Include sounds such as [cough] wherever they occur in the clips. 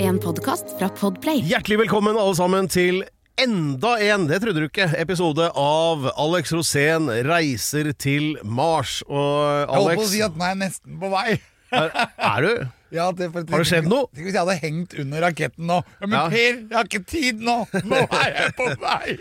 en podkast fra Podplay. Hjertelig velkommen alle sammen til enda en, det trodde du ikke, episode av Alex Rosén reiser til Mars. Og Jeg holdt på å Alex, si at den er nesten på vei. er, er du? Ja, det, for, Har det skjedd noe? Tenk hvis jeg hadde hengt under raketten nå. Ja, men Ja. Per, jeg har ikke tid nå! [laughs] Nå er jeg på vei!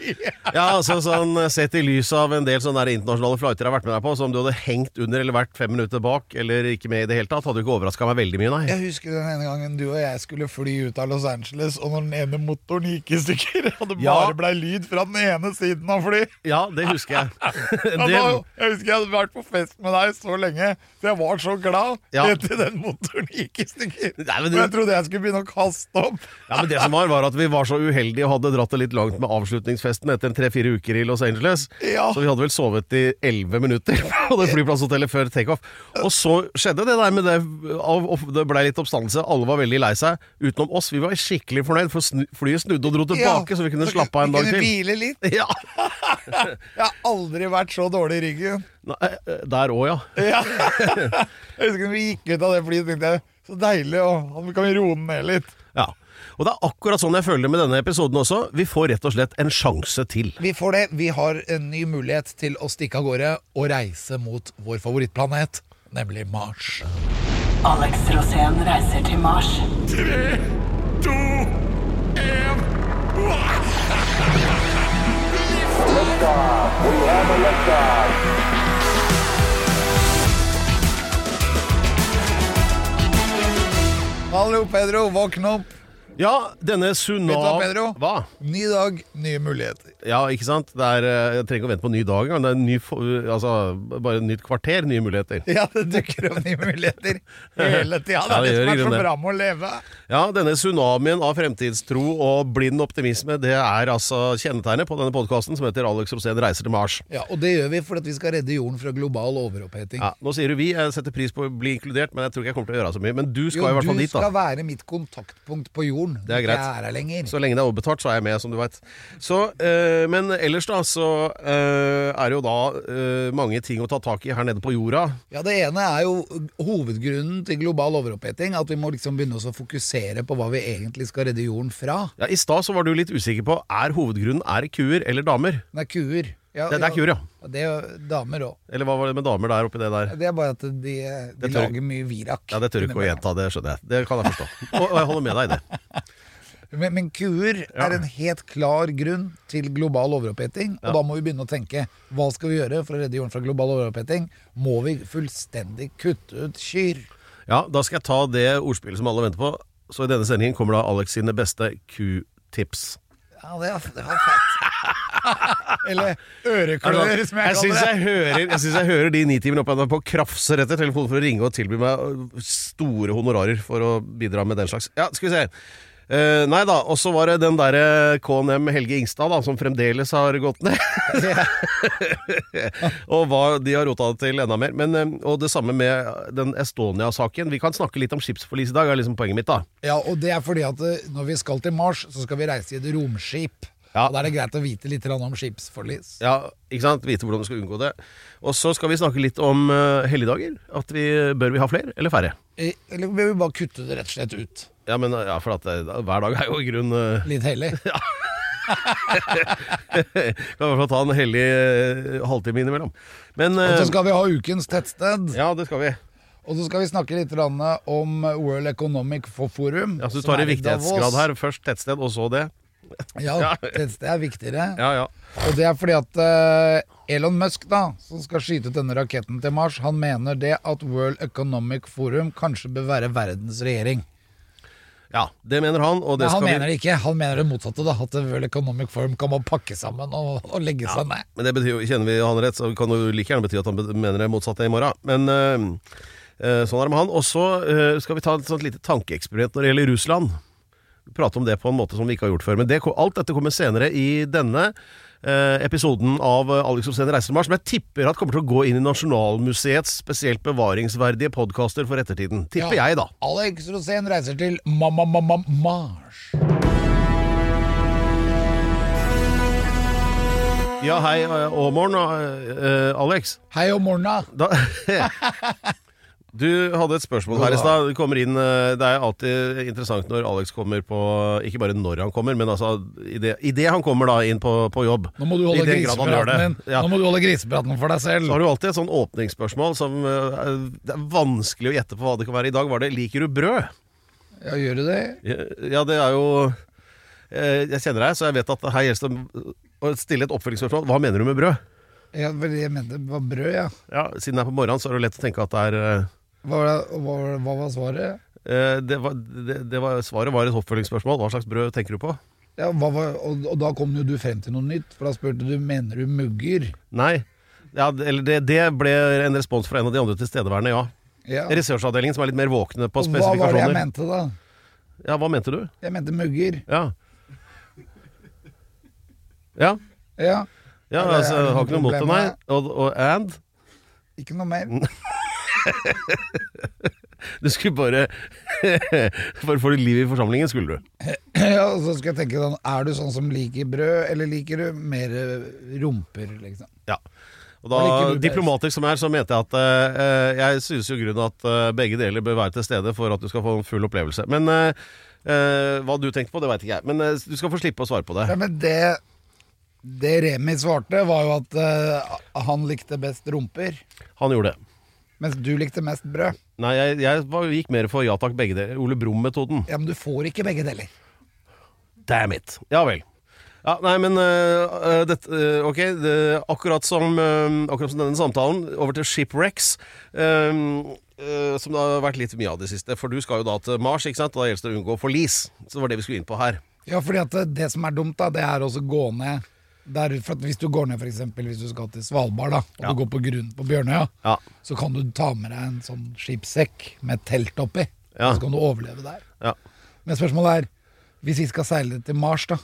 Ja, altså sånn sett i lys av en del sånne der internasjonale flighter jeg har vært med deg på, som du hadde hengt under eller vært fem minutter bak, eller ikke med i det hele tatt, hadde du ikke overraska meg veldig mye, nei. Jeg husker den ene gangen du og jeg skulle fly ut av Los Angeles, og når den ene motoren gikk i stykker, [laughs] og det Ja. bare blei lyd fra den ene siden av flyet Ja, det husker jeg. [laughs] Ja, Det, da- Jeg husker jeg hadde vært på fest med deg så lenge, så jeg var så glad Ja. helt til den motoren gikk i stykker. Nei, men Og jeg du- trodde jeg skulle begynne å kaste opp. ja, men det som var, var at vi var så uheldige og hadde dratt det litt langt med avslutningsfesten etter en tre-fire uker i Los Angeles. Ja. Så vi hadde vel sovet i 11 minutter [laughs] på det flyplasshotellet før takeoff. Og så skjedde det der med det av- og Det blei litt oppstandelse. Alle var veldig lei seg, utenom oss. Vi var skikkelig fornøyd, for snu- flyet snudde og dro tilbake, så vi kunne slappe av en vi dag kunne til. Hvile litt. [laughs] Ja, Jeg har aldri vært så dårlig i ryggen. Nei, eh, Der òg, ja. Ja. Jeg husker når vi gikk ut av det flyet, tenkte jeg så deilig, og vi kan vi roe den ned litt. ja. Og det er akkurat sånn jeg føler det med denne episoden også. Vi får rett og slett en sjanse til. Vi får det. Vi har en ny mulighet til å stikke av gårde og reise mot vår favorittplanet, nemlig Mars. Alex Rosén reiser til Mars. Hallo, Pedro. Våkne opp. Ja, denne Vet du hva, tsunami... Pedro? Hva? Ny dag, nye muligheter. Ja, ikke sant? Det er, eh, jeg trenger ikke å vente på en ny dag engang. Det er en ny, fo- altså, bare et nytt kvarter, nye muligheter. Ja, det dukker opp nye muligheter hele Ja, tida. Det det er det gjør i som er grunnen så det. bra med å leve. Ja, denne tsunamien av fremtidstro og blind optimisme, det er altså kjennetegnet på denne podkasten som heter Alex Rosén reiser til Mars. Ja, Og det gjør vi fordi vi skal redde jorden fra global overoppheting. Ja, nå sier du vi, jeg setter pris på å bli inkludert, men jeg tror ikke jeg kommer til å gjøre så mye. Men du skal Jo, i hvert fall du dit, skal da. være mitt kontaktpunkt på jorden. Det er greit. Jeg er her lenger. Så lenge det er overbetalt, så er jeg med, som du veit. Øh, men ellers, da, så øh, er det jo da øh, mange ting å ta tak i her nede på jorda. Ja, Det ene er jo hovedgrunnen til global overoppheting. At vi må liksom begynne oss å fokusere på hva vi egentlig skal redde jorden fra. Ja, I stad så var du litt usikker på er hovedgrunnen er det kuer eller damer. Det er kuer. Ja, Det, det er kuer, ja. ja, Det er jo damer òg. Eller hva var det med damer der oppi det der? Det er bare at de, eh, de Det tør- lager mye virak. Ja, Det tør du ikke å gjenta, det skjønner jeg. Det kan jeg forstå. Og, og jeg holder med deg i det. Men, men kuer Ja. er en helt klar grunn til global overoppheting. Ja. Og da må vi begynne å tenke hva skal vi gjøre for å redde jorden fra global overoppheting? Må vi fullstendig kutte ut kyr? Ja, Da skal jeg ta det ordspillet som alle venter på. Så i denne sendingen kommer da Alex sine beste ku-tips. Ja, det var, det var fett. [laughs] Eller øreklør, som jeg Jeg syns kaller det. jeg, hører- jeg, synes jeg hører de nitimene opp på krafser etter telefonen for å ringe og tilby meg øh, store honorarer for å bidra med den slags. Ja, skal vi se. Eh, nei da, og så var det den derre KNM Helge Ingstad da, som fremdeles har gått ned. [laughs] og hva de har rota det til enda mer. Men, eh, og det samme med den Estonia-saken. Vi kan snakke litt om skipsforlis i dag, er liksom poenget mitt. da Ja, og det er fordi at eh, når vi skal til Mars, så skal vi reise i et romskip. Ja. Og da er det greit å vite litt grann om skipsforlis. Ja, ikke sant? Vite hvordan du skal unngå det. Og så skal vi snakke litt om eh, helligdager. At vi, bør vi ha flere eller færre? Eh, Eller vil vi bare kutte det rett og slett ut? Ja, men ja, for at eh, hver dag er jo i grunn eh, Litt [laughs] heller. Kan i hvert fall ta en hellig eh, halvtime innimellom. Men Og eh, så skal vi ha ukens tettsted. Ja, det skal vi. Og så skal vi snakke litt grann om World Economic Forum. Ja, så du som tar i er Davos. viktighetsgrad her. Først tettsted, og så det. Ja, tettsted er viktigere. Ja, ja. Og det er fordi at eh, Elon Musk, da, som skal skyte ut denne raketten til Mars, han mener det at World Economic Forum kanskje bør være verdens regjering. Ja, Det mener han, og det Nei, han skal mener vi det ikke. Han mener det motsatte. da, At World Economic Forum kan man pakke sammen og, og legge seg ned. Men det betyr jo, kjenner vi han rett, så kan det jo like gjerne bety at han be- mener det motsatte i morgen. Men eh, eh, sånn er det med han. Og så eh, skal vi ta et sånt lite tankeeksperiment når det gjelder Russland. Prate om det på en måte som vi ikke har gjort før. Men det, ko- alt dette kommer senere i denne eh, episoden av eh, Alex Rosén reiser til Mars, som jeg tipper at kommer til å gå inn i Nasjonalmuseets spesielt bevaringsverdige podkaster for ettertiden. Tipper Ja. jeg, da. Alex Rosén reiser til ma-ma-ma-ma-Mars. Ja, hei eh, og morgen, eh, eh, Alex. Hei og morna. Da, [laughs] Du hadde et spørsmål her i stad. Det kommer inn, eh, Det er alltid interessant når Alex kommer på Ikke bare når han kommer, men altså idet han kommer da inn på, på jobb. Nå må du holde I den grad han gjør grisepraten din det. Ja. Nå må du holde grisepraten for deg Så selv. har du alltid et sånn åpningsspørsmål som eh, Det er vanskelig å gjette på hva det kan være. I dag var det 'Liker du brød?' Ja, gjør du det? Ja, det er jo eh, Jeg kjenner deg, så jeg vet at her gjelder det å stille et oppfølgingsspørsmål. Hva mener du med brød? Ja, vel, jeg mente det var brød, ja. Ja, Siden det er på morgenen, så er det jo lett å tenke at det er eh, Hva, var det- hva, var- hva var svaret? eh, det var, det, det var, Svaret var et oppfølgingsspørsmål. Hva slags brød tenker du på? Ja, hva var, og, og da kom jo du frem til noe nytt, for da spurte du mener du mugger. Nei. Ja, det- eller det, det ble en respons fra en av de andre tilstedeværende, ja. Ja. Ressursavdelingen som er litt mer våkne på Og hva var det spesifikasjoner. jeg mente da? Ja, hva mente du? Jeg mente mugger. Ja. Ja, Ja, ja Er det- altså, er det jeg har noe ikke noe mot det, problem nei. med Og, og and? ikke noe mer. Du skulle bare [laughs] For å få litt liv i forsamlingen, skulle du. Ja, og så skal jeg tenke sånn, er du sånn som liker brød, eller liker du mer eh, rumper, liksom? Ja. Og da, Hva liker du best? diplomatisk som jeg er, så mente jeg at eh, jeg synes jo i grunnen at eh, begge deler bør være til stede for at du skal få en full opplevelse. Men eh, eh, hva du tenkte på, det veit ikke jeg. Men eh, du skal få slippe å svare på det. Ja, men det, det Remi svarte var jo at eh, han likte best rumper, Han gjorde det. mens du likte mest brød. Nei, jeg, jeg var, gikk mer for ja takk, begge deler. Ole Brumm-metoden. Ja, men du får ikke begge deler. Damn it. Ja vel. Ja, nei, men øh, øh, dette, øh, Ok, det, akkurat, som, øh, akkurat som denne samtalen, over til Shipwrecks. øh, øh, som det har vært litt mye av det siste. For du skal jo da til Mars, ikke sant? og da gjelder det å unngå forlis. Så det var det vi skulle inn på her. Ja, fordi at eh, det- det som er dumt da, det er også å gå ned der, for at Hvis du går ned for eksempel, hvis du skal til Svalbard da, og Ja. du går på grunn på Bjørnøya, Ja. så kan du ta med deg en sånn skipssekk med telt oppi, Ja. og så kan du overleve der. ja. Men spørsmålet er, hvis vi skal seile til Mars da,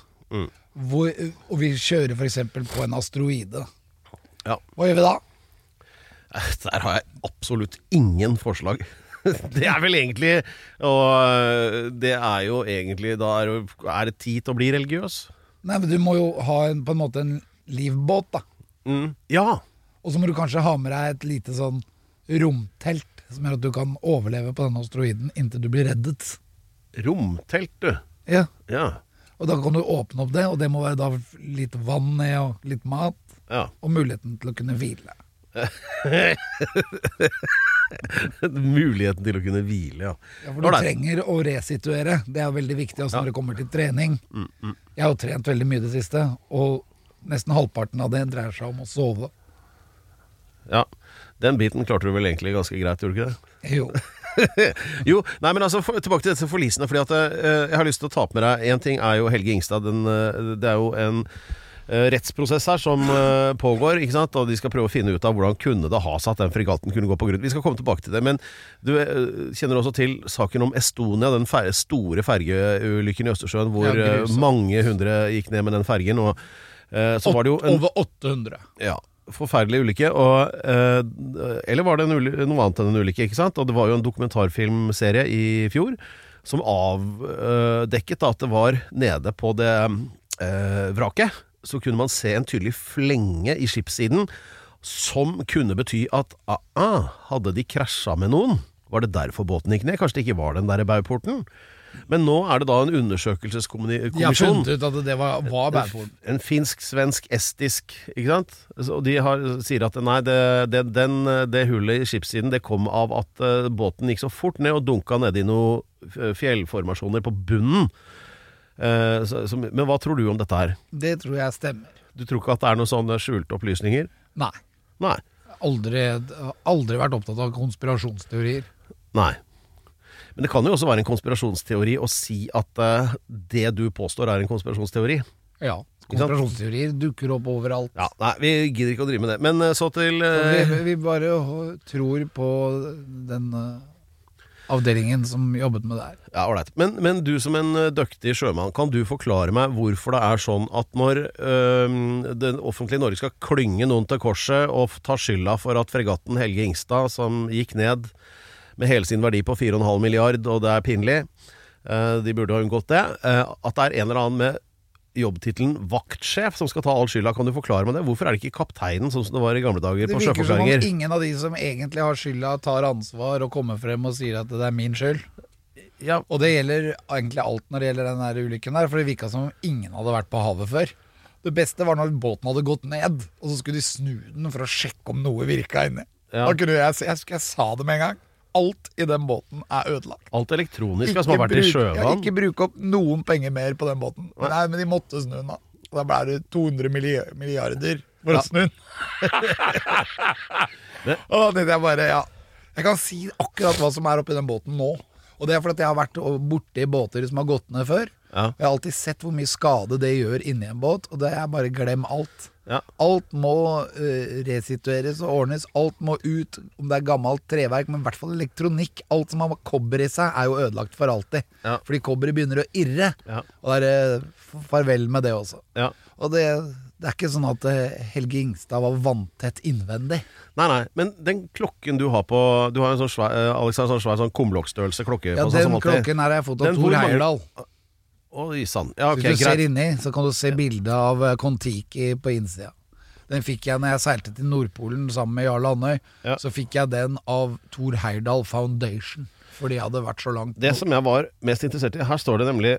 hvor, og vi kjører for eksempel på en asteroide, ja. hva gjør vi da? Eh, Der har jeg absolutt ingen forslag. [laughs] Det er vel egentlig Og øh, det er jo egentlig Da er, jo- er det tid til å bli religiøs. Nei, men du må jo ha en, på en måte en livbåt da, Mm. Ja. og så må du kanskje ha med deg et lite sånn romtelt, som gjør at du kan overleve på denne asteroiden inntil du blir reddet. Romtelt, du. Ja, Ja. og da kan du åpne opp det, og det må være da litt vann i og litt mat, ja. [laughs] og muligheten til å kunne hvile. Muligheten til å kunne hvile, ja. Ja, for du Ålreit. trenger å resituere, det er veldig viktig også når det kommer til trening. Mm, Jeg har jo trent veldig mye det siste, og nesten halvparten av det dreier seg om å sove. ja. Den biten klarte du vel egentlig ganske greit, gjorde du ikke det? Jo, [laughs] jo, nei, men altså for, tilbake til disse forlisene. Fordi at eh, jeg har lyst til å ta på med deg Én ting er jo Helge Ingstad. Den, eh, det er jo en eh, rettsprosess her som eh, pågår, ikke sant? og de skal prøve å finne ut av hvordan kunne det ha seg at den fregatten kunne gå på grunn. Vi skal komme tilbake til det, men du eh, kjenner også til saken om Estonia, den fer store fergeulykken i Østersjøen hvor Ja, eh, grusomt. mange hundre gikk ned med den fergen. Og eh, så var det jo en over 800. Ja, forferdelig ulykke. Og, eh, eller var det en uly noe annet enn en ulykke, ikke sant? Og det var jo en dokumentarfilmserie i fjor som avdekket da at det var nede på det eh, vraket, så kunne man se en tydelig flenge i skipssiden som kunne bety at ah, ah, hadde de krasja med noen, var det derfor båten gikk ned? Kanskje det ikke var den der baugporten? Men nå er det da en De har undersøkelseskommisjon funnet ut at det var, var bærporten. en finsk, svensk, estisk Ikke sant? Så- Og de har, sier at nei, det, det, den, det hullet i skipssiden Det kom av at eh, båten gikk så fort ned Og dunka ned i noen f- fjellformasjoner på bunnen Eh, så, som, Men hva tror du om dette her? Det tror jeg stemmer. Du tror ikke at det er noen sånne skjulte opplysninger? Nei. Nei, Aldri, aldri vært opptatt av konspirasjonsteorier. nei Men det kan jo også være en konspirasjonsteori Å si at eh, det du påstår er en konspirasjonsteori Ja, konspirasjonsteorier dukker opp overalt. Ja, nei, vi gidder ikke å drive med det Men eh, så til eh, Vi, vi bare h- tror på den eh, avdelingen som jobbet med det her. Ja, all right. men, men du som en ø, døktig sjømann, kan du forklare meg hvorfor det er sånn at når øhm, det offentlige Norge skal klynge noen til korset og f- ta skylda for at fregatten Helge Ingstad, som gikk ned med hele sin verdi på 4,5 milliard, og det er pinlig, eh, de burde ha unngått det, eh, at det er en eller annen med jobbtittelen vaktsjef som skal ta all skylda. Kan du forklare meg det? Hvorfor er det ikke kapteinen, sånn som det var i gamle dager Det på virker som om sjøforklaringer? ingen av de som egentlig har skylda, tar ansvar og kommer frem og sier at det er min skyld. Ja, Og det gjelder egentlig alt når det gjelder den her ulykken der, for det virka som om ingen hadde vært på havet før. Det beste var når båten hadde gått ned, og så skulle de snu den for å sjekke om noe virka inni. Ja. Da kunne jeg, si- jeg, husker jeg sa det med en gang. Alt i den båten er ødelagt. alt elektronisk ja, som har vært i bruk- ja, sjøvann. ikke bruke opp noen penger mer på den båten. Nei, men de måtte snu den, da. Og Da ble det 200 milli- milliarder for Ja. å snu [laughs] den. og da tenkte jeg bare, ja. Jeg kan si akkurat hva som er oppi den båten nå. Og det er fordi at jeg har vært og- borti båter som har gått ned før. Ja. Jeg har alltid sett hvor mye skade det gjør inni en båt, og det er bare glem alt. Ja. Alt må eh, resitueres og ordnes, alt må ut, om det er gammelt treverk, men i hvert fall elektronikk. Alt som har kobber i seg er jo ødelagt for alltid. Ja. Fordi kobberet begynner å irre. Ja. Og det er eh, f- farvel med det også. Ja. Og det, det er ikke sånn at eh, Helge Ingstad var vanntett innvendig. Nei, nei, men den klokken du har på Du har jo en sånn svær, eh, Alex har en sånn svær sånn kumlokkstørrelse klokke Ja, på seg den som alltid. klokken her har jeg fått av Den- hvor Tor mange- Heyerdahl. Oi sann. Ja, ok, Hvis du ser greit. inni, så kan du se bildet av eh, Kon-Tiki på innsida. Den fikk jeg når jeg seilte til Nordpolen sammen med Jarl Andøy. Ja. Så fikk jeg den av Thor Heyerdahl Foundation, fordi jeg hadde vært så langt Det som jeg var mest interessert i Her står det nemlig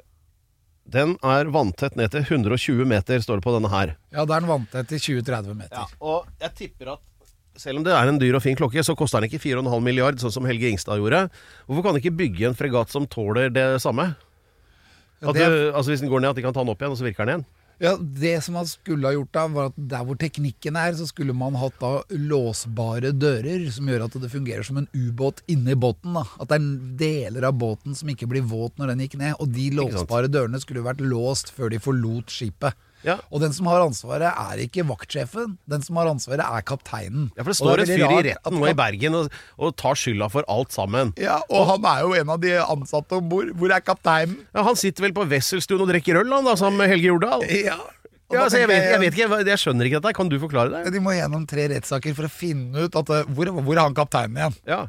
Den er vanntett ned til 120 meter, står det på denne her. Ja, da er den vanntett til 20-30 meter. Og jeg tipper at selv om det er en dyr og fin klokke, så koster den ikke 4,5 milliard, sånn som Helge Ingstad gjorde. Hvorfor kan de ikke bygge en fregatt som tåler det samme? Ja, At det- du, altså Hvis den går ned, at de kan ta den opp igjen, og så virker den igjen. Ja, Det som man skulle ha gjort da, var at der hvor teknikken er, så skulle man hatt da låsbare dører som gjør at det fungerer som en ubåt inni båten. da. At det er deler av båten som ikke blir våt når den gikk ned. Og de sant. låsbare dørene skulle jo vært låst før de forlot skipet. Ja. Og den som har ansvaret er ikke vaktsjefen, den som har ansvaret er kapteinen. Ja, for det Og står en veldig fyr i rart at retten nå i kap- Bergen og, og tar skylda for alt sammen. Ja, og han er jo en av de ansatte om bord. Hvor er kapteinen? Ja, han sitter vel på Wesselstuen og drikker øl, han da, sammen med Helge Jordal. Ja. Og Ja, da altså, jeg, Eh, tenker vet, jeg vet ikke, jeg skjønner ikke dette. Kan du forklare det? Eh, De må gjennom tre rettssaker for å finne ut at, eh, hvor, hvor er han kapteinen igjen. Ja.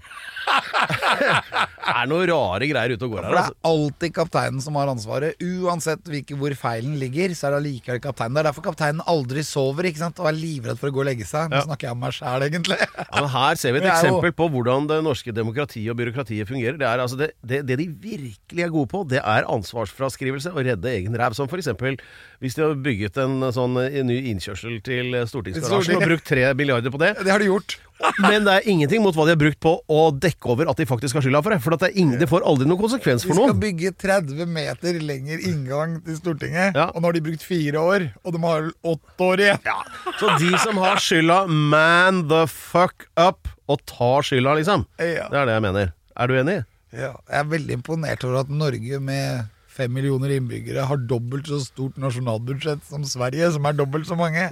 Det er noen rare greier ute og går her, For det altså. er alltid kapteinen som har ansvaret. Uansett hvilke, hvor feilen ligger, så er det allikevel kapteinen. Det er derfor kapteinen aldri sover ikke sant? og er livredd for å gå og legge seg. Nå snakker jeg om meg sjæl, egentlig. [laughs] Ja, men her ser vi et Det er jo- eksempel på hvordan det norske demokratiet og byråkratiet fungerer. Det, er, altså det, det, det de virkelig er gode på, det er ansvarsfraskrivelse og redde egen ræv. Som for eksempel hvis de har bygget en sånn eh, ny innkjørsel til eh, stortingsgarasjen og Stortinget. brukt tre milliarder på det. Det har du gjort. Men det er ingenting mot hva de har brukt på å dekke over at de faktisk har skylda for det. For at det, er ingen, det får aldri noen konsekvens Vi for skal noen. bygge 30 meter lenger inngang til Stortinget, Ja. og nå har de brukt fire år, og de har åtte år igjen. Så de som har skylda, man the fuck up, og tar skylda, liksom. Ja. Det er det jeg mener. Er du enig? Ja, jeg er veldig imponert over at Norge med fem millioner innbyggere har dobbelt så stort nasjonalbudsjett som Sverige, som er dobbelt så [laughs] mange.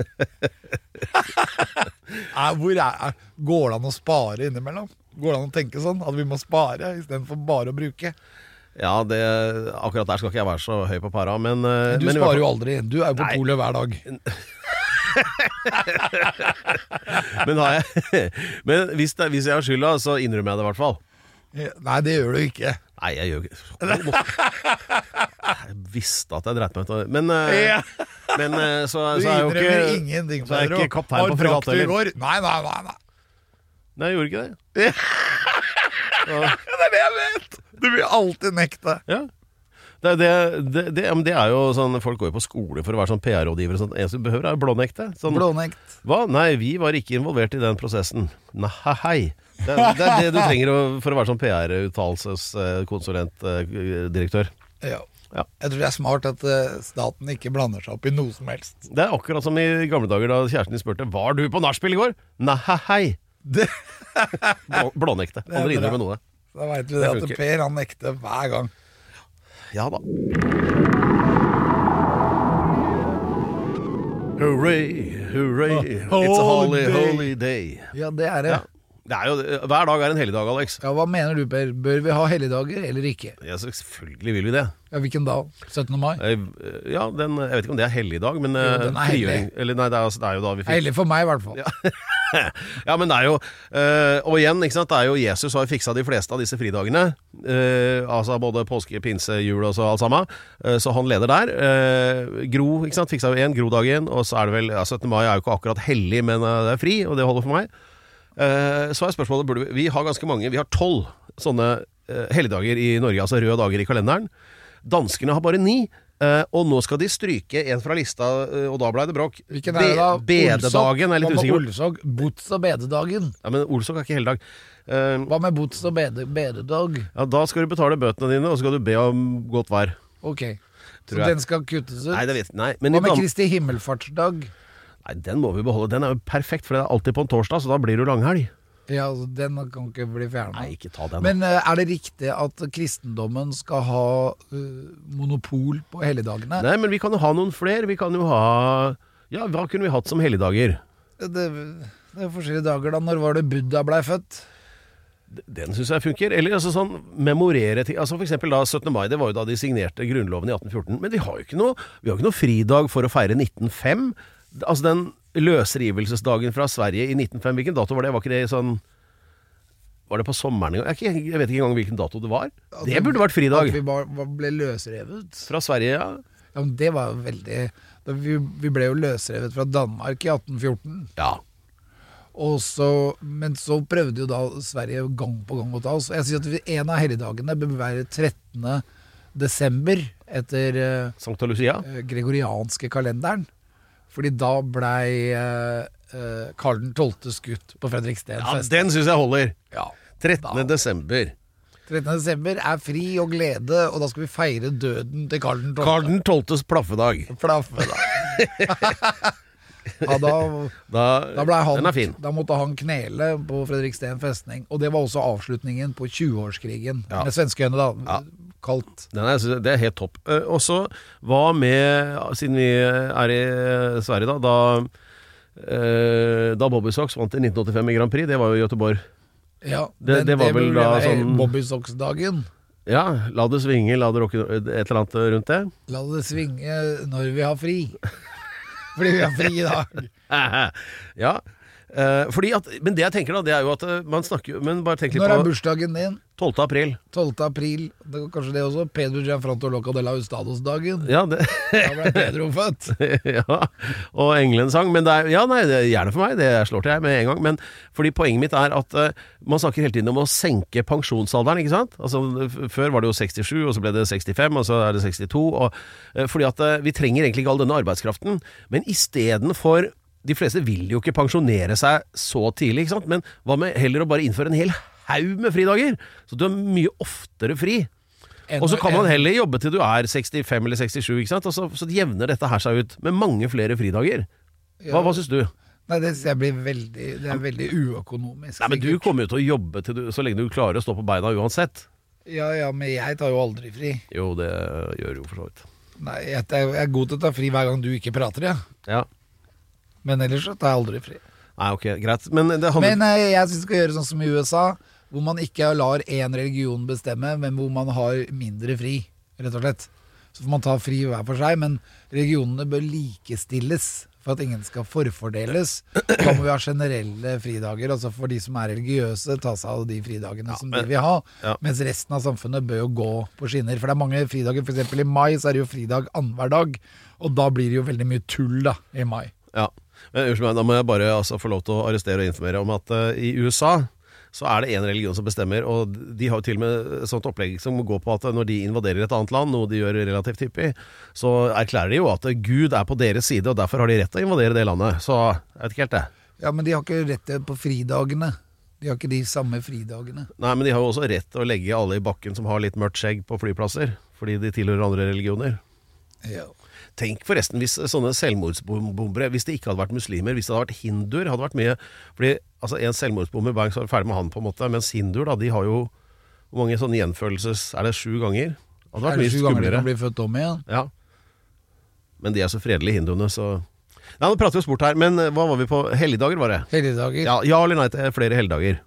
Nei, Hvor er, er, går det an å spare innimellom? Går det an å tenke sånn? At vi må spare istedenfor bare å bruke? Eh, Ja, det, akkurat der skal ikke jeg være så høy på para, men eh, Du men i hvert sparer fall- jo aldri. Du er jo på Nei. polet hver dag. Men, har jeg, [laughs] men hvis, det, hvis jeg har skylda, så innrømmer jeg det i hvert fall. Nei, det gjør du ikke. Nei, jeg gjør ikke Jeg visste at jeg dreit meg ut. av det. Men, eh, Ja. men eh, så, så Du er jeg jo ikke innrømmer ingenting. så er jeg Pedro. ikke kaptein Har på drakt fregatt du i heller. går? Nei, nei, nei. [laughs] nei. Nei, jeg gjorde ikke det. Det er det jeg vet! Du vil alltid nekte. Ja. Det, er- det, det, det, ja, men det er jo sånn, Folk går jo på skole for å være sånn PR-rådgiver. og Sånn. Det eneste du behøver, er blånekte. Sånn, Blånekt. Hva? Nei, vi var ikke involvert i den prosessen. Nei, hei. Det, er- det er det du trenger å, for å være sånn eh, PR-uttalelseskonsulentdirektør. Ja. Ja. Jeg tror det er smart at eh, staten ikke blander seg opp i noe som helst. Det er akkurat som i gamle dager da kjæresten din spurte Var du på nachspiel i går? Nei, hei. Det, [laughs] Blå- Blånekte. Aldri bra. innrømme noe. da veit vi det Det at funker. Per han nekter hver gang. Ja da. Hurray, hurray, it's a holy, Holiday. holy day. Ja, det er det. Ja. Det er jo, hver dag er en helligdag, Alex. Ja, Hva mener du, Per? Bør vi ha helligdager eller ikke? Ja, selvfølgelig vil vi det. Ja, Hvilken da? 17. mai? Eh, Ja, den, jeg vet ikke om det er helligdag, men eh, Jo, den er hellig. frigjøring- Eller nei, det er, altså, det er jo da vi Er fikk Hellig for meg, i hvert fall. [laughs] ja, men det er jo eh, Og igjen, ikke sant, det er jo Jesus har jo fiksa de fleste av disse fridagene. eh, altså både påske, pinse, jul og så alt sammen. Eh, så han leder der. Eh, gro ikke sant, fiksa jo én, Grodagen. Og så er det vel ja, 17. mai er jo ikke akkurat hellig, men eh, det er fri, og det holder for meg. Eh, så er spørsmålet burde vi, vi har ganske mange, vi har tolv sånne eh, helligdager i Norge, altså røde dager i kalenderen. Danskene har bare ni. eh, og nå skal de stryke en fra lista, eh, og da blei det bråk. Hvilken er det da? Be- Bededagen er jeg litt usikker på. Olsog, bots og bededagen. Ja, men Olsok er ikke helligdag. Eh, Hva med bots og bede, bededag? ja, da skal du betale bøtene dine, og så skal du be om godt vær. Ok, så Tror jeg. den skal kuttes ut. Nei, det vet nei. Men i Hva med Dan- Kristi himmelfartsdag? nei, den må vi beholde. Den er jo perfekt, for det er alltid på en torsdag, så da blir det jo langhelg. Ja, altså, den kan ikke bli fjerna. Nei, ikke ta den. Men eh, er det riktig at kristendommen skal ha eh, monopol på helligdagene? nei, men vi kan jo ha noen flere. Vi kan jo ha Ja, hva kunne vi hatt som helligdager? Det, det er forskjellige dager, da. Når var det Buddha blei født? Den syns jeg funker. Eller altså sånn memorere ting. Altså for eksempel da 17. mai, det var jo da de signerte Grunnloven i 1814. Men vi har jo ikke noe, vi har ikke noe fridag for å feire 1905. Altså den løsrivelsesdagen fra Sverige i 1905, hvilken dato var det? Var ikke det sånn Var det på sommeren? en gang? Jeg, er ikke- jeg vet ikke engang hvilken dato det var. Det burde vært At vi fridag. bare bare ble løsrevet? Fra Sverige, ja. Ja, men det var jo veldig da vi, vi ble jo løsrevet fra Danmark i 1814. Ja. Og så, men så prøvde jo da Sverige gang på gang å ta oss. Jeg sier at vi, en av helligdagene bør være 13. desember etter eh, Sankta Lucia. eh, gregorianske kalenderen. Fordi da blei eh, eh, Karl 12. skutt på Fredriksten Ja, fest. den syns jeg holder. Ja. 13. desember. 13. desember er fri og glede, og da skal vi feire døden til Karl 12. Karl den 12.s plaffedag. Flaffe, da. ja, da, da ble han, den er fin. Da måtte han knele på Fredriksten festning. Og det var også avslutningen på 20-årskrigen Ja. med svenskene, da. Kaldt. Den er, det er helt topp. Eh, Og så hva med, siden vi er i eh, Sverige, da Da, eh, da Bobby Sox vant i 1985 i Grand Prix, det var jo i Göteborg. Ja, Det- det var vel da sånn- Bobby Socks-dagen. Ja, la det svinge, la det rocke Et eller annet rundt det. [laughs] La det svinge når vi har fri. Fordi vi har fri i dag. ja. Eh, Fordi at, men det jeg tenker, da, det er jo at eh, man snakker jo Men bare tenk litt Når er på bursdagen din? 12. april. 12. april. Det var kanskje det også. Pedro Gianfranto Loca de la Hustados-dagen. Ja, det, [laughs] Da ble Pedro født. ja. Og engelen sang. Men det er, ja, nei, det er gjerne for meg, det slår til jeg med en gang. Men fordi poenget mitt er at eh, man snakker hele tiden om å senke pensjonsalderen, ikke sant? Altså, f- før var det jo 67, og så ble det 65, og så er det 62. Og, eh, fordi at eh, vi trenger egentlig ikke all denne arbeidskraften. Men istedenfor De fleste vil jo ikke pensjonere seg så tidlig, ikke sant? Men hva med heller å bare innføre en hel haug med fridager? Så du er mye oftere fri. Og så kan man heller jobbe til du er 65 eller 67, ikke sant? Og så, så jevner dette her seg ut med mange flere fridager. Hva, hva syns du? Nei, det, jeg blir veldig, det er veldig uøkonomisk. Nei, men Du sikkert. kommer jo til å jobbe til du, så lenge du klarer å stå på beina uansett. Ja, ja, men jeg tar jo aldri fri. Jo, det gjør du jo for så vidt. Nei, jeg, jeg er god til å ta fri hver gang du ikke prater, ja. Ja. Men ellers så tar jeg aldri fri. Nei, ok, greit. Men det handler Men eh, jeg syns vi skal gjøre sånn som i USA, hvor man ikke lar én religion bestemme, men hvor man har mindre fri, rett og slett. Så får man ta fri hver for seg, men religionene bør likestilles for at ingen skal forfordeles. Da må vi ha generelle fridager, altså for de som er religiøse, ta seg av de fridagene som de vil ha. ja. Mens resten av samfunnet bør jo gå på skinner. For det er mange fridager, f.eks. i mai så er det jo fridag annenhver dag. Og da blir det jo veldig mye tull, da, i mai. Ja. Men unnskyld meg, da må jeg bare altså, få lov til å arrestere og informere om at eh, i USA så er det én religion som bestemmer, og de har jo til og med et sånt opplegg som går på at når de invaderer et annet land, noe de gjør relativt hyppig, så erklærer de jo at Gud er på deres side, og derfor har de rett til å invadere det landet. Så jeg vet ikke helt, det. Ja, men de har ikke rett til på fridagene. De har ikke de samme fridagene. Nei, men de har jo også rett til å legge alle i bakken som har litt mørkt skjegg på flyplasser, fordi de tilhører andre religioner. Ja. Tenk forresten hvis sånne selvmordsbombere Hvis det ikke hadde vært muslimer, hvis det hadde vært hinduer hadde vært mye, Fordi altså, en selvmordsbomber bang, så er det ferdig med han, på en måte. Mens hinduer, da, de har jo Hvor mange sånne gjenfølelses Er det sju ganger? Hadde Er vært det mye sju ganger de skumlere. kan bli født om igjen? Ja. Men de er så fredelige, hinduene, så Nei, nå prater vi oss bort her, men eh, hva var vi på? Helligdager, var det? Helligdager? Ja, ja eller nei til flere helligdager?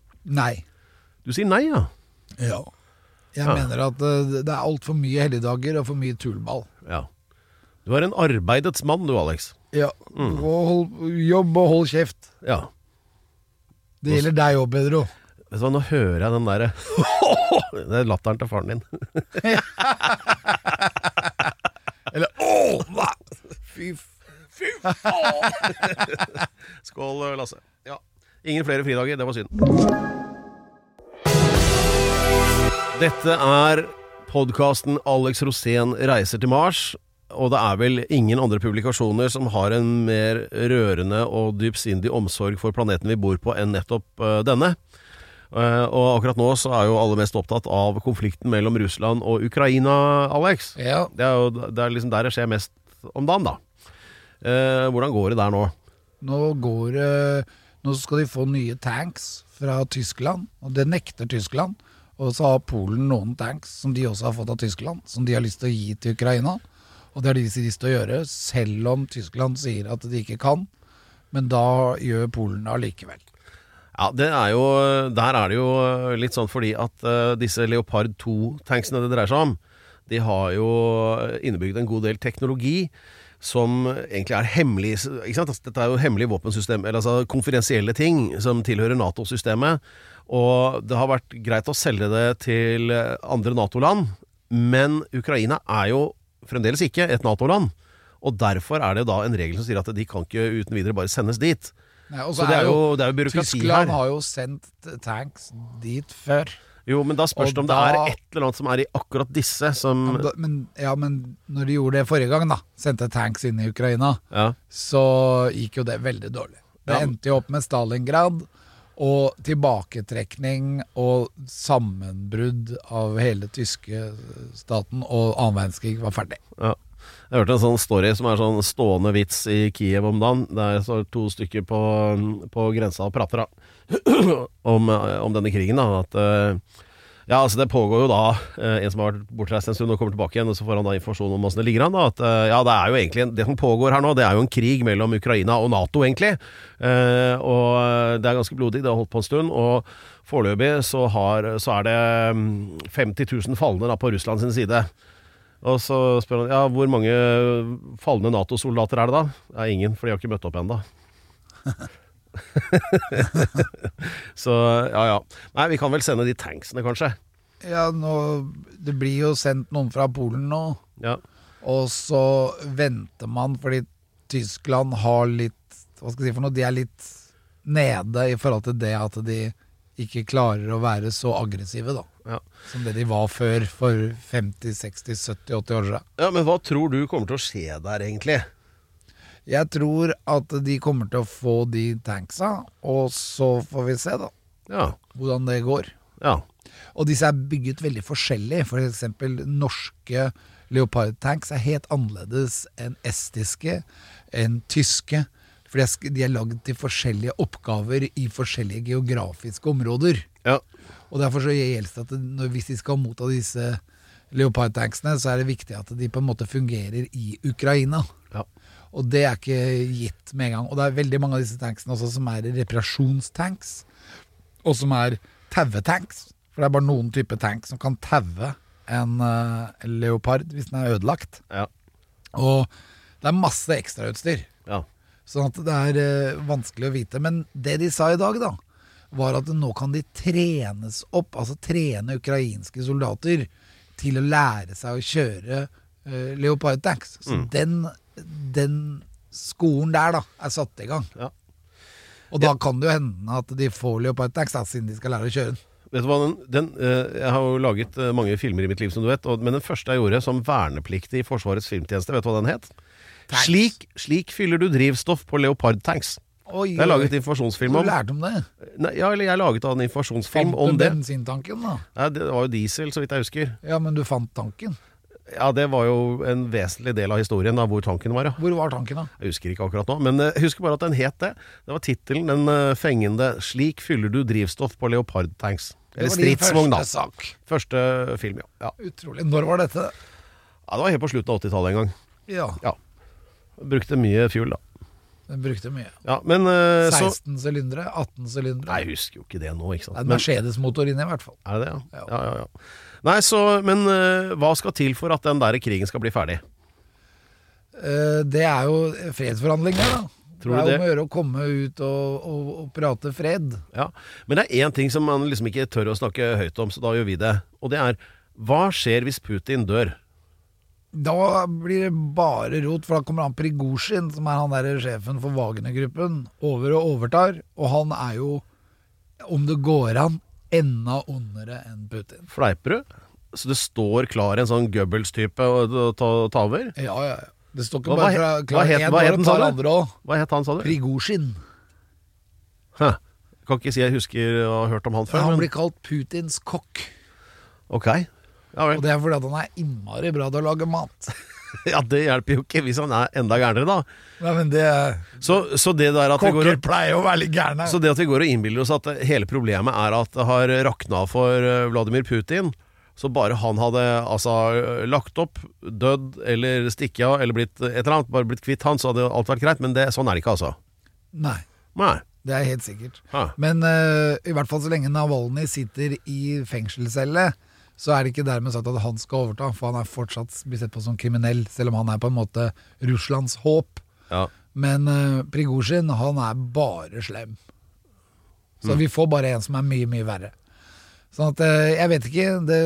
Nei. Du sier nei, ja. Ja. Jeg Ja. mener at eh, det er altfor mye helligdager og for mye tullball. ja. Du er en arbeidets mann, du, Alex. Mm. Ja. Og hold, jobb og hold kjeft. Ja. Det gjelder deg òg, Pedro. Vet du hva, nå hører jeg den derre [laughs] Det er latteren til faren din. Eller åh, hva? Fy f... Skål, eh, Lasse. Ja. Ingen flere fridager, det var synd. Dette er podkasten Alex Rosén reiser til Mars. Og det er vel ingen andre publikasjoner som har en mer rørende og dypsindig omsorg for planeten vi bor på, enn nettopp eh, denne. Eh, og akkurat nå så er jo alle mest opptatt av konflikten mellom Russland og Ukraina, Alex. Ja. Det er jo det er liksom der det skjer mest om dagen, da. Eh, hvordan går det der nå? Nå går det Nå skal de få nye tanks fra Tyskland, og det nekter Tyskland. Og så har Polen noen tanks som de også har fått av Tyskland, som de har lyst til å gi til Ukraina. Og det har de lyst til å gjøre, selv om Tyskland sier at de ikke kan. Men da gjør Polen det allikevel. Ja, det er jo, Der er det jo litt sånn fordi at eh, disse Leopard 2-tanksene det dreier seg om, de har jo innebygd en god del teknologi som egentlig er hemmelig ikke sant? Altså, Dette er jo hemmelige våpensystem, eller altså konfidensielle ting som tilhører Nato-systemet. Og det har vært greit å selge det til andre Nato-land, men Ukraina er jo fremdeles ikke et Nato-land. Og derfor er det da en regel som sier at de kan ikke uten videre bare sendes dit. Nei, og Så det er jo, det er jo byråkrati her. Tyskland har jo sendt tanks dit før. Jo, men da spørs det Og om det da- er et eller annet som er i akkurat disse som Men, da- men, ja, men når de gjorde det forrige gang, da, sendte tanks inn i Ukraina, ja. så gikk jo det veldig dårlig. Det Ja. endte jo opp med Stalingrad og tilbaketrekning og sammenbrudd av hele tyske staten, og annen verdenskrig var ferdig. ja. Jeg hørte en sånn story som er sånn stående vits i Kiev om dagen. Der står to stykker på, på grensa og prater da. [clears throat] om, eh, om denne krigen. da At eh, Ja, altså det pågår jo da eh, en som har vært bortreist en stund og kommer tilbake igjen, og så får han da informasjon om åssen det ligger an. da At eh, ja, det er jo egentlig en, Det som pågår her nå, det er jo en krig mellom Ukraina og Nato, egentlig. Eh, og eh, det er ganske blodig. Det har holdt på en stund. Og foreløpig så, har, så er det mm, 50 000 falne da på Russland sin side. Og så spør han ja, hvor mange falne Nato-soldater er det da? Ja, ingen, for de har ikke møtt opp ennå. [laughs] så ja, ja. Nei, vi kan vel sende de tanksene, kanskje. Ja, nå, det blir jo sendt noen fra Polen nå, Ja. og så venter man fordi Tyskland har litt Hva skal jeg si for noe? De er litt nede i forhold til det at de ikke klarer å være så aggressive, da. Ja. Som det de var før, for 50, 60, 70, 80 år siden. ja, Men hva tror du kommer til å skje der, egentlig? Jeg tror at de kommer til å få de tanksa, og så får vi se da Ja. hvordan det går. ja. Og disse er bygget veldig forskjellig. For eksempel norske leopardtanks er helt annerledes enn estiske, enn tyske. For de er sk- de er lagd til forskjellige oppgaver i forskjellige geografiske områder. ja. Og derfor så gjelder det at det- når, hvis de skal motta disse leopardtanksene, så er det viktig at de på en måte fungerer i Ukraina. Ja. Og det er ikke gitt med en gang. Og det er veldig mange av disse tanksene også som er reparasjonstanks, og som er tauetanks. For det er bare noen type tanks som kan taue en eh, leopard hvis den er ødelagt. ja. Og det er masse ekstrautstyr, ja. sånn at det er eh, vanskelig å vite. Men det de sa i dag, da, var at nå kan de trenes opp, altså trene ukrainske soldater til å lære seg å kjøre eh, leopard tanks. Mm. Så den, den skolen der, da, er satt i gang. Ja. Og da kan det jo hende at de får leopard tanks, da, siden de skal lære å kjøre den. Vet du hva, den, den, eh, Jeg har jo laget eh, mange filmer i mitt liv, som du vet. Og, men den første jeg gjorde som vernepliktig i Forsvarets filmtjeneste, vet du hva den het? Tanks. Slik, slik fyller du drivstoff på leopardtanks. Oi, Jeg har laget Du informasjonsfilm om lærte om det? Nei, ja, eller jeg laget da en informasjonsfilm Fant om du det. bensintanken, da? Nei, det var jo diesel, så vidt jeg husker. Ja, men du fant tanken. Ja, Det var jo en vesentlig del av historien, da, hvor tanken var, ja. Hvor var tanken, da? Jeg husker ikke akkurat nå, men eh, jeg husker bare at den het det. Det var tittelen, den eh, fengende 'Slik fyller du drivstoff på leopardtanks'. Eller stridsvogn, da. Det var din første sak. Første film, ja. ja. Utrolig. Når var dette? ja. Det var helt på slutten av 80-tallet en gang. Ja, Ja. Brukte mye fuel, da. den brukte mye. Ja, men eh, så 16 sylindere, 18 Nei, sylindere. jeg husker jo ikke det nå, ikke sant. Det er Men- Mercedes-motor inni, i hvert fall. Er det det, ja? Ja. Ja, ja, ja. Nei, så, men eh, hva skal til for at den der krigen skal bli ferdig? Eh, Det er jo fredsforhandlinger, da. Tror du det er det? om å gjøre å komme ut og, og, og prate fred. Ja, Men det er én ting som man liksom ikke tør å snakke høyt om, så da gjør vi det. Og det er hva skjer hvis Putin dør? Da blir det bare rot, for da kommer han Prigozjin, som er han der sjefen for Wagner-gruppen, over og overtar. Og han er jo, om det går an, enda ondere enn Putin. Fleiper du? Så det står klar en sånn Goebbels-type å å ta, ta over? Ja, ja, ja. Det står ikke Hva- bare hva fra het- klar hva het- en hva het når den, de sa tar du? andre òg. Hva het han, sa du? Prigozjin. Hæ. Kan ikke si jeg husker å ha hørt om han før. Han men- blir kalt Putins kokk. Ok. Ja Og vel. det er fordi at han er innmari bra til å lage mat. Ja, det hjelper jo ikke hvis han er enda gærnere, da. Nei, men det Så, så det der at vi går Kokker og pleier å være litt gærne. så det at vi går og innbiller oss at hele problemet er at det har rakna for eh, Vladimir Putin, så bare han hadde altså lagt opp, dødd eller stikket av eller blitt et eller annet, bare blitt kvitt han, så hadde alt vært greit. Men det, sånn er det ikke, altså. Nei, Nei. det er helt sikkert. Ja. Men eh, i hvert fall så lenge Navalny sitter i fengselscelle, så er det ikke dermed sagt at han skal overta, for han er fortsatt blitt sett på som kriminell, selv om han er på en måte Russlands håp. Ja. Men uh, Prigozjin, han er bare slem. Så Mm. vi får bare en som er mye, mye verre. Sånn at eh, jeg vet ikke det,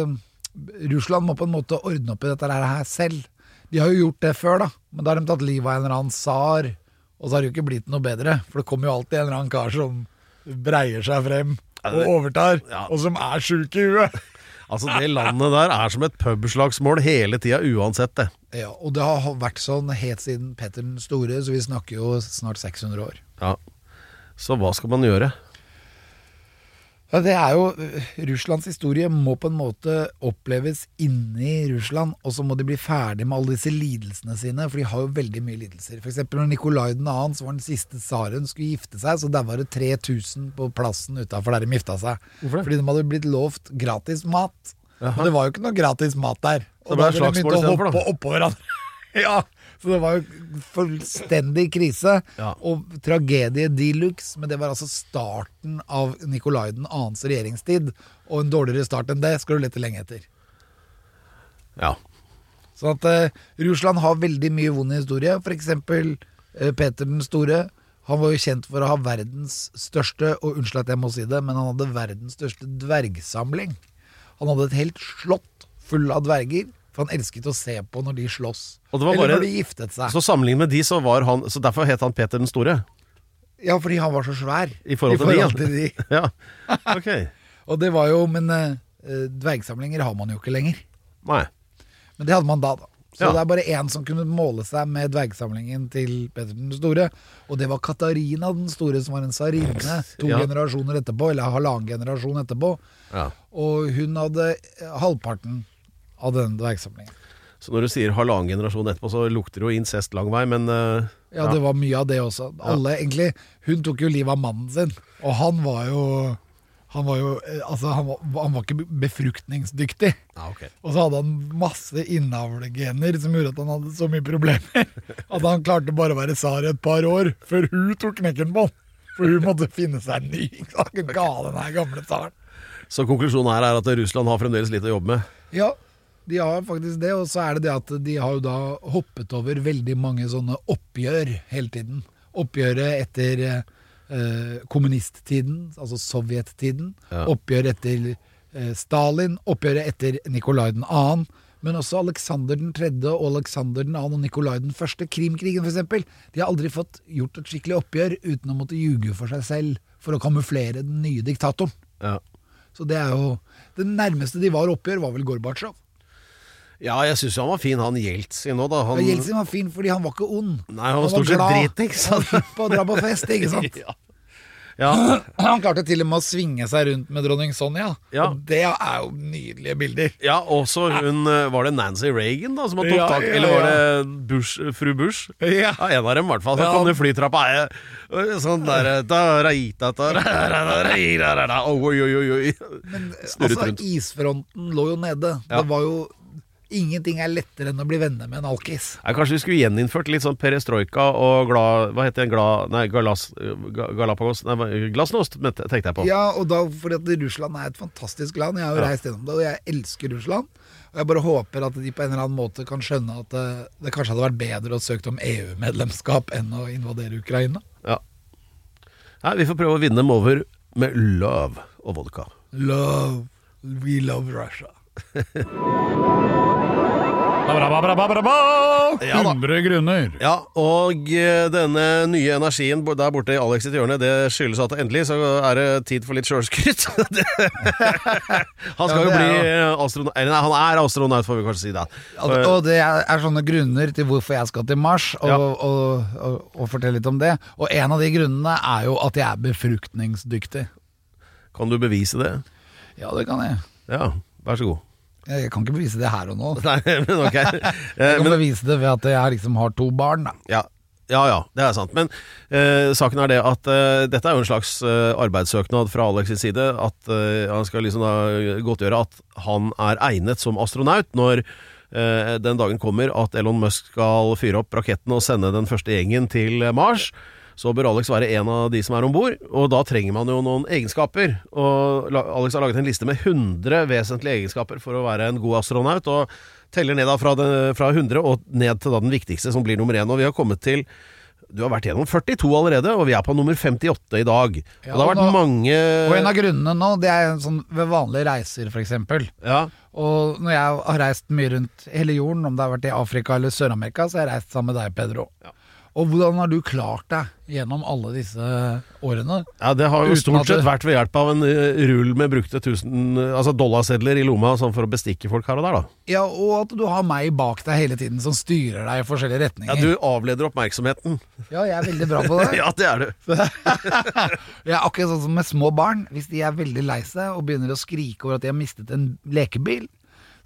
Russland må på en måte ordne opp i dette her selv. De har jo gjort det før, da. Men da har de tatt livet av en eller annen tsar. Og så har det jo ikke blitt noe bedre. For det kommer jo alltid en eller annen kar som breier seg frem Ja, og det- overtar. ja. Og som er sjuk i huet. [laughs] Altså, det landet der er som et pubslagsmål hele tida, uansett det. Ja, og det har vært sånn helt siden Petter den store, så vi snakker jo snart 600 år. Ja. Så hva skal man gjøre? Ja, det er jo eh, Russlands historie må på en måte oppleves inni Russland, og så må de bli ferdig med alle disse lidelsene sine, for de har jo veldig mye lidelser. F.eks. når Nikolai 2., som var den siste tsaren, skulle gifte seg, så der var det 3000 på plassen utafor der de gifta seg. Hvorfor det? Fordi de hadde blitt lovt gratis mat. Jaha. Og det var jo ikke noe gratis mat der. Så det ble Og da ville de slagsmål begynte å istedenfor, da? hoppe oppå hverandre. [laughs] ja, så det var jo fullstendig krise Ja. og tragedie de luxe, men det var altså starten av Nikolai 2.s regjeringstid. Og en dårligere start enn det skal du lete lenge etter. Ja. Sånn at eh, Russland har veldig mye vond historie. For eksempel eh, Peter den store. Han var jo kjent for å ha verdens største, og unnskyld at jeg må si det, men han hadde verdens største dvergsamling. Han hadde et helt slott full av dverger, for han elsket å se på når de sloss. Og det var bare- Eller når de giftet seg. Så sammenlignet med de, så var han Så derfor het han Peter den store. Ja, fordi han var så svær. I forhold til de, altså. ja. til de. [laughs] Ja. Ok. Og det var jo, men eh, eh, dvergsamlinger har man jo ikke lenger. Nei. Men det hadde man da, da. Så Ja. det er bare én som kunne måle seg med dvergsamlingen til Petter den store, og det var Katarina den store, som var en tsarinne to Ja. generasjoner etterpå, eller halvannen generasjon etterpå. Ja. Og hun hadde eh, halvparten av denne dvergsamlingen. Så når du sier halvannen generasjon etterpå, så lukter det jo incest lang vei, men eh, Ja, det var mye av det også. Alle, egentlig, hun tok jo livet av mannen sin, og han var jo Han var jo eh, Altså, han var, han var ikke befruktningsdyktig. ja, ok. Og så hadde han masse innavlegener som gjorde at han hadde så mye problemer [laughs] at han klarte bare å være tsar i et par år før hun tok knekken på han. For hun måtte finne seg en ny. ikke sant? Hun Ga den her gamle tsaren. Så konklusjonen her er at Russland har fremdeles litt å jobbe med. Ja, de har faktisk det. Og så er det det at de har jo da hoppet over veldig mange sånne oppgjør hele tiden. Oppgjøret etter eh, kommunisttiden, altså sovjettiden. Ja. Oppgjør etter eh, Stalin. Oppgjøret etter Nikolai 2. Men også Aleksander 3. og Aleksander 2. og Nikolai 1. Krimkrigen f.eks. De har aldri fått gjort et skikkelig oppgjør uten å måtte ljuge for seg selv for å kamuflere den nye diktatoren. Ja. Så det er jo Det nærmeste de var oppgjør, var vel Gorbatsjov. Ja, jeg syns jo han var fin, han Jeltsin nå, da. Han, Men Jeltsin var fin fordi han var ikke ond. Nei, han var stort sett glad. drit, ikke sant? Han var hypp på å dra på fest, ikke sant? [laughs] Ja. ja. Han klarte til og med å svinge seg rundt med dronning Sonja. Ja. Og det er jo nydelige bilder. ja, også hun eh, Var det Nancy Reagan, da, som har tatt Ja, tak? ja, Eller var ja. det Bush, fru Bush? Ja. Ja, en av dem i hvert fall. Så Ja. kom det flytrappa eh, eh, sånn der eh, da, rei, da, da, ra, ra, ra, ra, ra, ra, ra, Oi, oi, oi, oi. Snurret Altså, rundt. isfronten lå jo nede. Ja. Det var jo Ingenting er lettere enn å bli venner med en alkis. Nei, kanskje vi skulle gjeninnført litt sånn perestrojka og gla, Hva heter den? Gla, nei, galas, ga- Galapagos Nei, hva- glasnost, men te- tenkte jeg på. Ja, og da, fordi at Russland er et fantastisk land. Jeg har jo Ja. reist gjennom det, og jeg elsker Russland. Og jeg bare håper at de på en eller annen måte eh, E kan skjønne at det, det kanskje hadde vært bedre å søke om EU-medlemskap enn å invadere Ukraina. Ja. Nei, vi får prøve å vinne dem over med love og vodka. Love. We love Russia. Ja da. 100 grunner. Ja, og eh, denne nye energien bo- der borte i Alex sitt hjørne, det skyldes at endelig så er det tid for litt sjølskryt. [laughs] [laughs] Det- han skal Ja, jo det er bli astronaut Eller nei, han er astronaut, får vi kanskje si da. Og, og det er, er sånne grunner til hvorfor jeg skal til Mars, og, Ja. og, og, og fortelle litt om det. Og en av de grunnene er jo at jeg er befruktningsdyktig. Eh, Kan du bevise det? Ja, det kan jeg. Ja, vær så god. Jeg kan ikke bevise det her og nå. [laughs] Nei, men ok. Eh, Jeg kan Men, bevise det ved at jeg liksom har to barn. Da. ja. Ja ja, det er sant. Men eh, saken er det at eh, dette er jo en slags eh, arbeidssøknad fra Alex sin side. At eh, han skal liksom da godtgjøre at han er egnet som astronaut når eh, den dagen kommer at Elon Musk skal fyre opp raketten og sende den første gjengen til eh, Mars. Så bør Alex være en av de som er om bord, og da trenger man jo noen egenskaper. Og la- Alex har laget en liste med 100 vesentlige egenskaper for å være en god astronaut, og teller ned da fra, den, fra 100 og ned til da den viktigste, som blir nummer én. Og vi har kommet til Du har vært gjennom 42 allerede, og vi er på nummer 58 i dag. Ja, og det har vært og nå- mange Og en av grunnene nå, det er sånn ved vanlige reiser, f.eks. ja, Og når jeg har reist mye rundt hele jorden, om det har vært i Afrika eller Sør-Amerika, så har jeg reist sammen med deg, Pedro. Og hvordan har du klart deg gjennom alle disse årene? ja, det har jo Uten stort at det- sett vært ved hjelp av en eh, rull med brukte 1000 altså dollarsedler i lomma, sånn for å bestikke folk her og der, da. Ja, og at du har meg bak deg hele tiden som styrer deg i forskjellige Ja, retninger. du avleder oppmerksomheten. [laughs] Ja, jeg er veldig bra på det. Ja, det er du. Jeg er akkurat sånn som med små barn. Hvis de er veldig lei seg og begynner å skrike over at de har mistet en lekebil,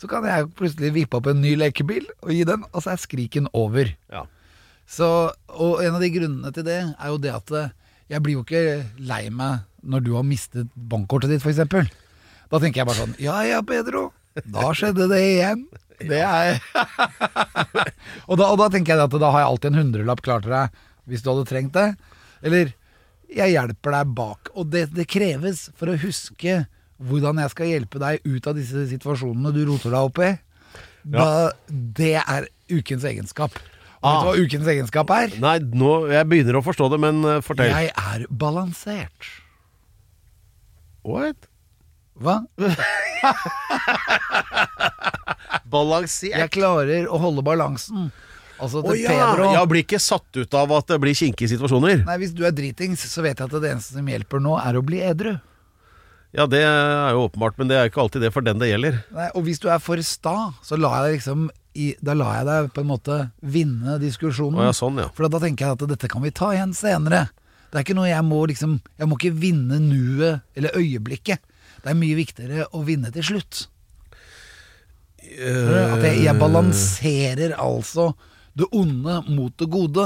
så kan jeg plutselig vippe opp en ny lekebil og gi den, og så er skriken over. Ja. Så, og en av de grunnene til det er jo det at eh, jeg blir jo ikke lei meg når du har mistet bankkortet ditt, f.eks. Da tenker jeg bare sånn Ja ja, Pedro. Da skjedde det igjen. Det er [laughs] og, da, og da tenker jeg at da har jeg alltid en hundrelapp klar til deg hvis du hadde trengt det. Eller jeg hjelper deg bak. Og det det kreves for å huske hvordan jeg skal hjelpe deg ut av disse situasjonene du roter deg opp i. Da, Det er ukens egenskap. Og Ah. vet du hva ukens egenskap er? Nei, nå, jeg begynner å forstå det, men eh, fortell. Jeg er balansert. What? Hva? Jeg Balansert. klarer å holde balansen. Altså til Å ja. Pedro Jeg blir ikke satt ut av at det blir kinkige situasjoner. Nei, Hvis du er dritings, så vet jeg at det eneste som hjelper nå, er å bli edru. Ja, det er jo åpenbart, men det er jo ikke alltid det for den det gjelder. Nei, og hvis du er for sta, så lar jeg deg liksom i, Da lar jeg deg på en måte vinne diskusjonen. Å ja, sånn, ja. For da tenker jeg at dette kan vi ta igjen senere. Det er ikke noe jeg må liksom Jeg må ikke vinne nuet eller øyeblikket. Det er mye viktigere å vinne til slutt. Eh, At jeg, jeg balanserer altså det onde mot det gode.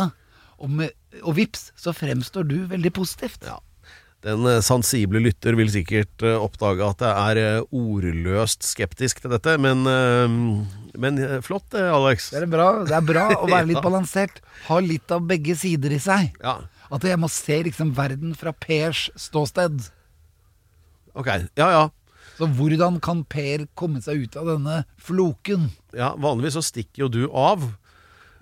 Og, med, og vips, så fremstår du veldig positivt. Ja. Den eh, sensible lytter vil sikkert eh, oppdage at det er eh, ordløst skeptisk til dette, men, eh, men eh, flott det, Alex. Det er bra, det er bra å [laughs] være litt Ja. balansert. Ha litt av begge sider i seg. Ja, At jeg må se liksom verden fra Pers ståsted. ok. Ja, ja. Så hvordan kan Per komme seg ut av denne floken? ja vanligvis så stikker jo du av.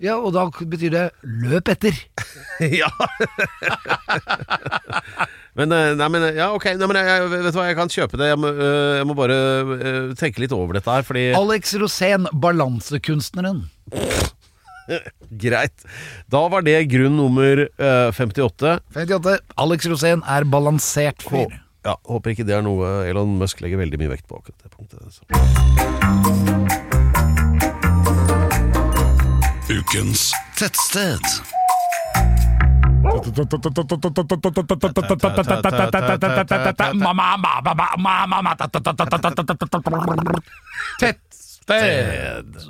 Ja, og da betyr det løp etter. [laughs] ja. men, eh, nei, men eh, ja, ok. Nei, men jeg, jeg- vet du hva, jeg kan kjøpe det. Jeg må, eh, jeg må bare eh, tenke litt over dette her, fordi Alex Rosén, balansekunstneren. [laughs] Greit. Da var det grunn nummer eh, 58. 58. Alex Rosén er balansert Hå- fyr. Ja, håper ikke det er noe Elon Musk legger veldig mye vekt på akkurat det punktet. altså. Ukens tettsted. Tettsted.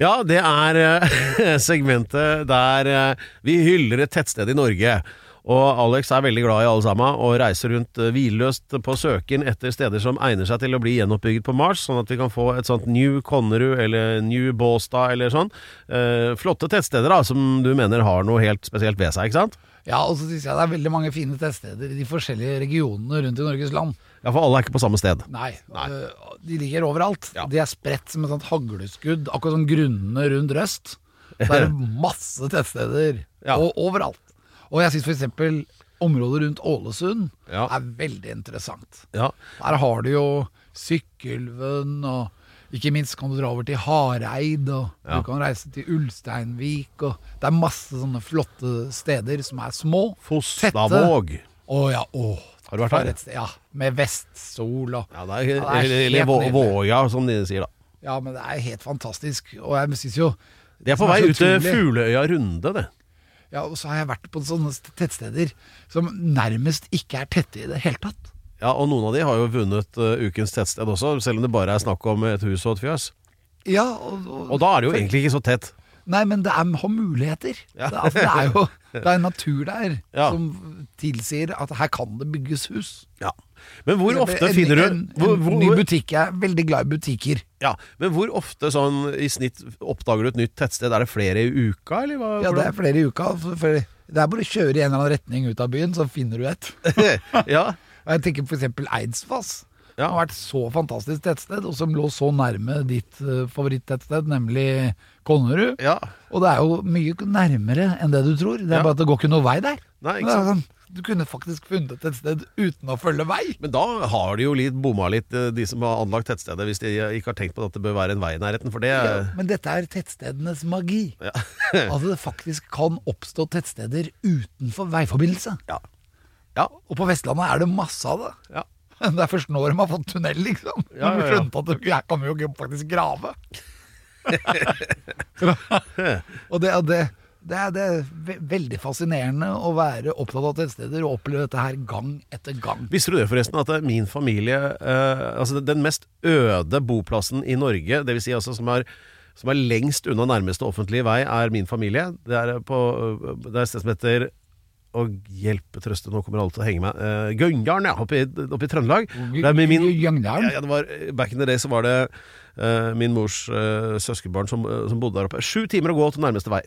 Ja, det er eh, [laughs] segmentet der eh, vi hyller et tettsted i Norge. Og Alex er veldig glad i alle sammen, og reiser rundt eh, hvilløst på søken etter steder som egner seg til å bli gjenoppbygget på Mars, sånn at vi kan få et sånt New Konnerud eller New Båstad eller sånn. Eh, flotte tettsteder da, som du mener har noe helt spesielt ved seg, ikke sant? Ja, og så syns jeg det er veldig mange fine tettsteder i de forskjellige regionene rundt i Norges land. Ja, for alle er ikke på samme sted. Nei. Nei. øh, De ligger overalt. Ja. De er spredt som et sånt hagleskudd, [laughs] akkurat som grunnene rundt Røst. Så er det masse tettsteder Ja. og overalt. Og jeg syns f.eks. området rundt Ålesund Ja. er veldig interessant. Ja. Der har du jo Sykkylven, og ikke minst kan du dra over til Hareid, og Ja. du kan reise til Ulsteinvik, og det er masse sånne flotte steder som er små. Fostavåg. Å ja, å. Har du vært For der? et sted, Ja, med vestsol og Ja, det er, Ja, det er helt eller Vå- nydelig. Våga, som de sier da. Ja, men det er helt fantastisk. Og jeg synes jo De er på som vei så ut til utrolig- Fugleøya Runde, det. Ja, og så har jeg vært på sånne st- tettsteder som nærmest ikke er tette i det hele tatt. Ja, og noen av de har jo vunnet eh, ukens tettsted også, selv om det bare er snakk om et hus og et fjøs. Ja, og, og, Og da er det jo egentlig ikke så tett. Nei, men det er, har muligheter. Det, er- altså, det er jo [laughs] det er en natur der Ja. som tilsier at her kan det bygges hus. Ja. Men hvor ofte En- finner En, du hvor, en hvor, ny butikk. Jeg er veldig glad i butikker. ja, Men hvor ofte sånn i snitt oppdager du et nytt tettsted? Er det flere i uka, eller hva? Ja, det er flere i uka. For, for det er bare å kjøre i en eller annen retning ut av byen, så finner du et. er [laughs] ja, Og Jeg tenker f.eks. Eidsvass. Ja. Det har vært så fantastisk tettsted, og som lå så nærme ditt eh, favorittettsted, nemlig Konnerud. ja. Og det er jo mye nærmere enn det du tror. Det er Ja. bare at det går ikke noe vei der. Nei, ikke Men det er sånn, du kunne faktisk funnet et sted uten å følge vei. Men da har de jo litt bomma litt, eh, de som har anlagt tettstedet, hvis de ikke har tenkt på at det bør være en vei i nærheten, for det Men dette er tettstedenes magi. [laughs] ja. At det faktisk kan oppstå tettsteder utenfor veiforbindelse. ja. ja. Og på Vestlandet er det masse av det. Ja. Men [laughs] Det er først nå de har fått tunnel, liksom. Ja, Når de ja, ja. skjønte at jeg kan jo ikke faktisk [laughs] grave. og det, og det, det, er, det er ve- veldig fascinerende å være opptatt av tettsteder og oppleve dette her gang etter gang. Visste du det forresten at eh, min familie eh, Altså den mest øde boplassen i Norge Det vil si altså som er, som er lengst unna nærmeste offentlige vei Er min familie Det er, på, eh, det er et sted som heter Å hjelpe trøste Nå kommer alle til å henge meg eh, Gøynjarn ja, oppe i, oppe i Trøndelag Det er med min Gøynjarn? ja, ja, det var, Back in the day så var det eh, Min mors eh, søskenbarn som, som bodde der oppe Sju timer å gå til nærmeste vei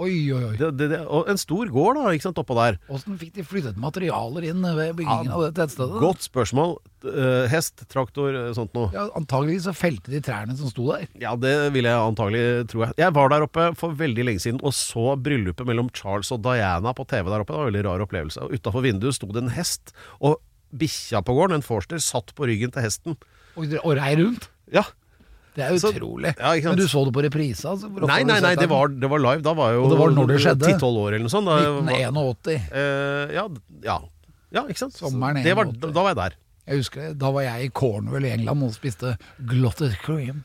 Oi, oi, oi. det, det, det, Og en stor gård da, ikke sant, oppå der Åssen fikk de flyttet materialer inn ved byggingen av det tettstedet? Godt spørsmål Eh, Hest, traktor, eh, sånt noe Ja, antageligvis så felte de trærne som sto der. Ja, det vil jeg antagelig tro. Jeg. jeg var der oppe for veldig lenge siden og så bryllupet mellom Charles og Diana på TV der oppe. Det var en veldig rar opplevelse. Og Utafor vinduet sto det en hest, og bikkja på gården, en forster, satt på ryggen til hesten. Og, og rei rundt. Ja. Det er Så- utrolig. Ja, ikke sant. Men du så det på reprise? Altså, hvor ofte Nei, har du nei, sett nei, det den? var, det var live. Da var jeg jo Og det var når det skjedde? 10-12 år eller noe sånt. Da, var- 1981. eh, ja, ja. ja, ikke sant. Så Sommeren det var, 81. da, da var jeg [laughs] der. Jeg husker det, Da var jeg i Cornwall i England og spiste glotted cream.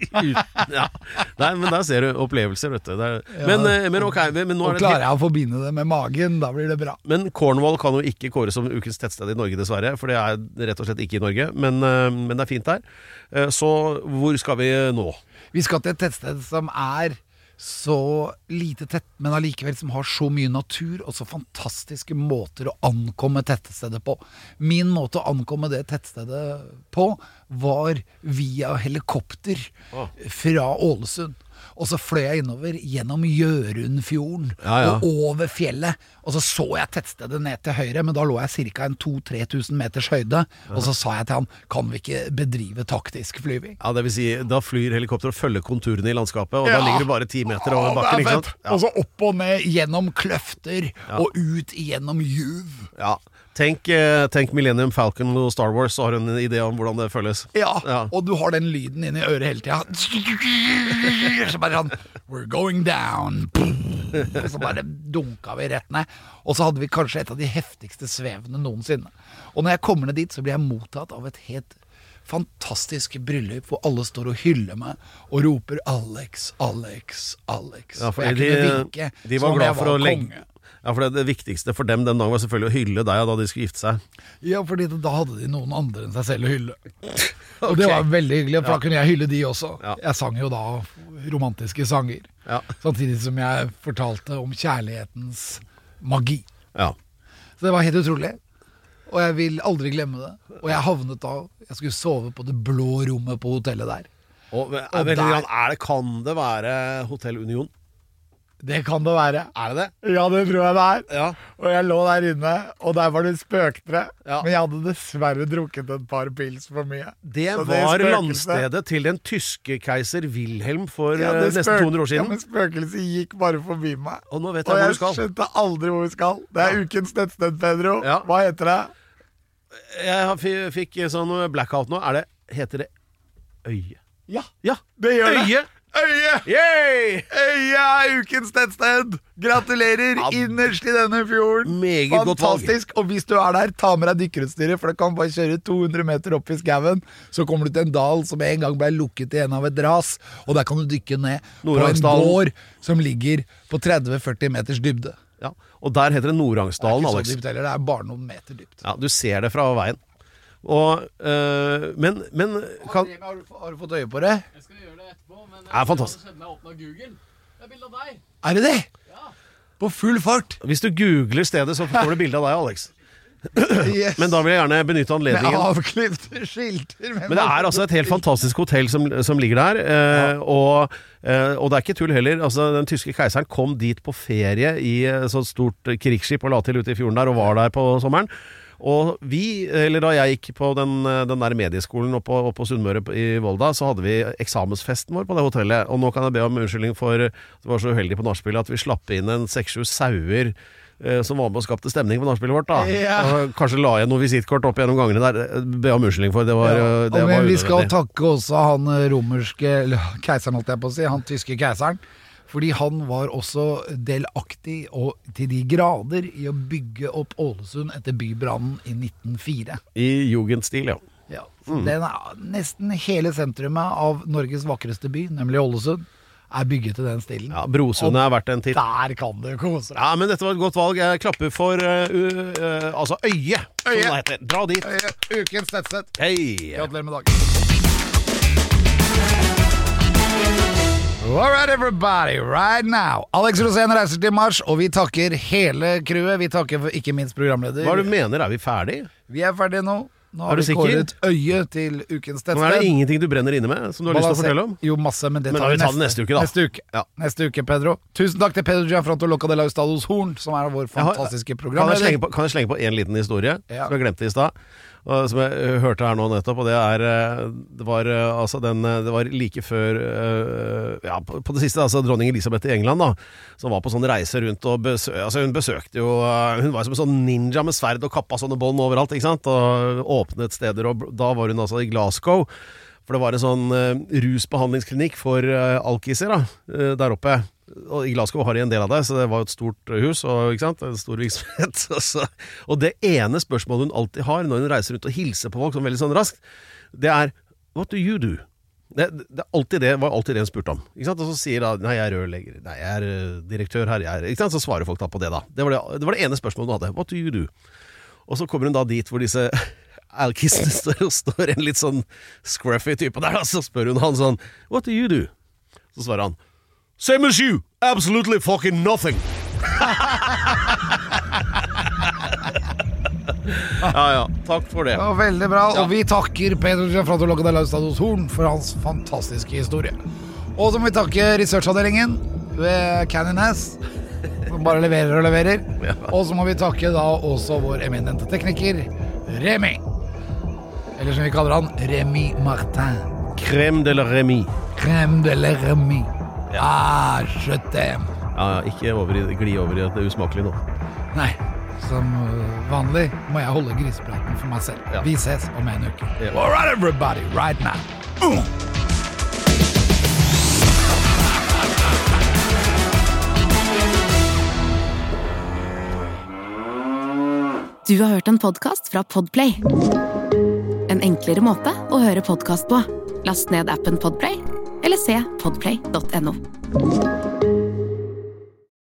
Uten, ja. Nei, men der ser du opplevelser, vet du. Det er, men, eh, men ok, men nå Og er det et klarer jeg å forbinde det med magen, da blir det bra. Men Cornwall kan jo ikke kåres som ukens tettsted i Norge, dessverre. For det er rett og slett ikke i Norge. Men, eh, men det er fint der. Eh, Så hvor skal vi nå? Vi skal til et tettsted som er så lite tett, men allikevel som har så mye natur og så fantastiske måter å ankomme tettstedet på. Min måte å ankomme det tettstedet på var via helikopter fra Ålesund. Og så fløy jeg innover gjennom Gjørundfjorden Ja, ja. og over fjellet, og så så jeg tettstedet ned til høyre, men da lå jeg ca. 2000-3000 meters høyde, og så sa jeg til han, kan vi ikke bedrive taktisk flyving? Ja, det vil si, da flyr helikopteret og følger konturene i landskapet, og da Ja. ligger du bare ti meter Ja, over det bakken. er Ikke fett. sant? Ja. Og så opp og ned gjennom kløfter, og ut gjennom juv. Ja. Tenk, eh, tenk Millennium Falcon og Star Wars, så har du en idé om hvordan det føles. Ja, Ja. og du har den lyden inni øret hele tida. [laughs] Så bare sånn We're going down. [laughs] Og så bare dunka vi rett ned. Og så hadde vi kanskje et av de heftigste svevene noensinne. Og når jeg kommer ned dit, så blir jeg mottatt av et helt fantastisk bryllup hvor alle står og hyller meg og roper 'Alex, Alex, Alex'. Ja, for og jeg de, kunne vinke de som var om glad jeg for å legge konge. Ja, for det, det viktigste for dem den dagen var selvfølgelig å hylle deg ja, da de skulle gifte seg. Ja, fordi da hadde de noen andre enn seg selv å [laughs] hylle. Og det var veldig hyggelig, for da kunne jeg hylle de også. Ja. Jeg sang jo da romantiske sanger. Ja. Samtidig som jeg fortalte om kjærlighetens magi. Ja. Så det var helt utrolig. Og jeg vil aldri glemme det. Og jeg havnet da Jeg skulle sove på det blå rommet på hotellet der. Og, Og er, der- er det, kan det være Hotell Union? Det kan det være. Er det det? Ja, det tror jeg det er. Ja. Og jeg lå der inne, og der var det spøktere. Ja. Men jeg hadde dessverre drukket et par pils for mye. Det Så var spøkelset- landstedet til den tyske keiser Wilhelm for Ja, eh, det nesten spøk- 200 år Ja, siden. men spøkelset gikk bare forbi meg. Og nå vet jeg Og hvor jeg du skal. skjønte aldri hvor vi skal. Det er ukens nettsted, Pedro. Ja. Hva heter det? Jeg har fi- fikk sånn blackout nå. Er det, heter det øye? Ja, Ja! det gjør det. Øye! Øye! Yay! Øya er ukens tettsted! Gratulerer innerst i denne fjorden! Meget godt valg. Fantastisk! Og hvis du er der, ta med deg dykkerutstyret, for du kan bare kjøre 200 meter opp i skauen. Så kommer du til en dal som en gang ble lukket igjen av et ras, og der kan du dykke ned på en Nordhagsdalen. gård som ligger på 30-40 meters dybde. Ja. Og der heter det Det er Norangsdalen, ikke så Alex. dypt heller, det er bare noen meter dypt. Ja, du ser det fra veien. Og, eh, men men kan, Remi, Har du, få- har du fått øye på det? Jeg skal gjøre det etterpå, men eh, Ja, fantastisk. jeg har åpna Google. Det er bilde av deg. Er det det? På full fart! Hvis du googler stedet, så får du bilde av deg, Alex. [clears throat] Yes. Men da vil jeg gjerne benytte Med anledningen. avklipte skilter. med Men det er altså et helt fantastisk hotell som, som ligger der. Eh, og, eh, og det er ikke tull heller. Altså, den tyske keiseren kom dit på ferie i eh, sånt stort krigsskip og la til ute i fjorden der, og var der på sommeren. Og vi, eller da jeg gikk på den, eh, den der medieskolen oppe oppe på Sunnmøre på- i Volda, så hadde vi eksamensfesten vår på det hotellet. Og nå kan jeg be om unnskyldning for eh, at vi var så uheldige på nachspielet at vi slapp inn en seks-sju sauer eh, som var med og skapte stemning på nachspielet vårt, da. Ja. Og kanskje la igjen noen visittkort opp gjennom gangene der. Eh, Be om unnskyldning for det. var Ja, eh, det var og men vi skal unødvendig. takke også han eh, romerske eller, [laughs] keiseren, holdt jeg på å si, han tyske keiseren. Fordi han var også delaktig og til de grader i å bygge opp Ålesund etter bybrannen i 1904. I jugendstil, ja. Ja, så Mm. den er nesten hele sentrumet av Norges vakreste by, nemlig Ålesund, er bygget til den stilen. ja Brosundet er verdt en titt. Der kan du kose deg! Ja, men dette var et godt valg. Jeg klapper for eh, u- eh, altså Øye, som Øye. det heter. Dra dit. Ukens tettsett. Hei! Gratulerer med dagen. All right, everybody, right now. Alex Rosén reiser til Mars, og vi takker hele crewet. Vi takker for, ikke minst programleder. Hva er det du mener? Er vi ferdig? Vi er ferdige nå. Nå Er har du vi sikker? kåret øye til ukens tettsted. Nå er det ingenting du brenner inne med som du har lyst til å Balanse- fortelle om? Jo, masse, men det Men tar da vi tar det neste uke, da. Neste uke, Ja. neste uke Pedro. Tusen takk til Pedro Gianfranto Loca de la Hustados Horn, som er vår Jeg har- fantastiske Kan jeg programleder. slenge på, kan jeg slenge på en liten historie Ja. som jeg glemte i stad? og Som jeg eh, hørte her nå nettopp, og det er eh, Det var, eh, altså den, eh, det var like før eh, Ja, på, på det siste, altså dronning Elisabeth i England, da. Som var på sånn reise rundt og besø altså, Hun besøkte jo eh, Hun var som en sånn ninja med sverd og kappa sånne bånd overalt, ikke sant? Og åpnet steder, og bl- da var hun altså i Glasgow. For det var en sånn eh, rusbehandlingsklinikk for eh, alkiser da, eh, der oppe. Og I Glasgow har de en del av det, så det var jo et stort eh, hus og ikke sant? en stor virksomhet. [laughs] og så- og det ene spørsmålet hun alltid har når hun reiser rundt og hilser på folk sånn veldig sånn raskt, det er What do you do? Det, det, er alltid det var alltid det hun spurte om. Ikke sant? Og så sier da Nei, jeg er rørlegger. Nei, jeg er eh, direktør her. Jeg er, ikke sant? Så svarer folk da på det, da. Det var det, det var det ene spørsmålet hun hadde. What do you do? Og så kommer hun da dit hvor disse [laughs] alkisene står, og står en litt sånn scruffy type der, og så spør hun han sånn What do you do? Så svarer han Same as you! Absolutely fucking nothing! [laughs] ja ja, takk for det. Det var veldig bra, og vi takker Pedro Gianfranto Loca de la Hustados Horn for hans fantastiske historie. Og så må vi takke researchavdelingen ved Canyon Ass, som bare leverer og leverer. [laughs] Ja. Og så må vi takke da også vår eminente tekniker, Remi. Eller som vi kaller han, Remi Martin. Crème de la remis. Crème de la Remi. Ah, je t'aime. Ja, ja, ikke over i, gli over i at det er usmakelig nå. Nei, som øh, vanlig må jeg holde grisepraten for meg selv. Ja. Vi ses om en uke. Ja. All right, everybody, right now. Uh! Du har hørt en podcast fra Podplay En enklere måte å høre podcast på Last ned appen Podplay Eller se podplay.no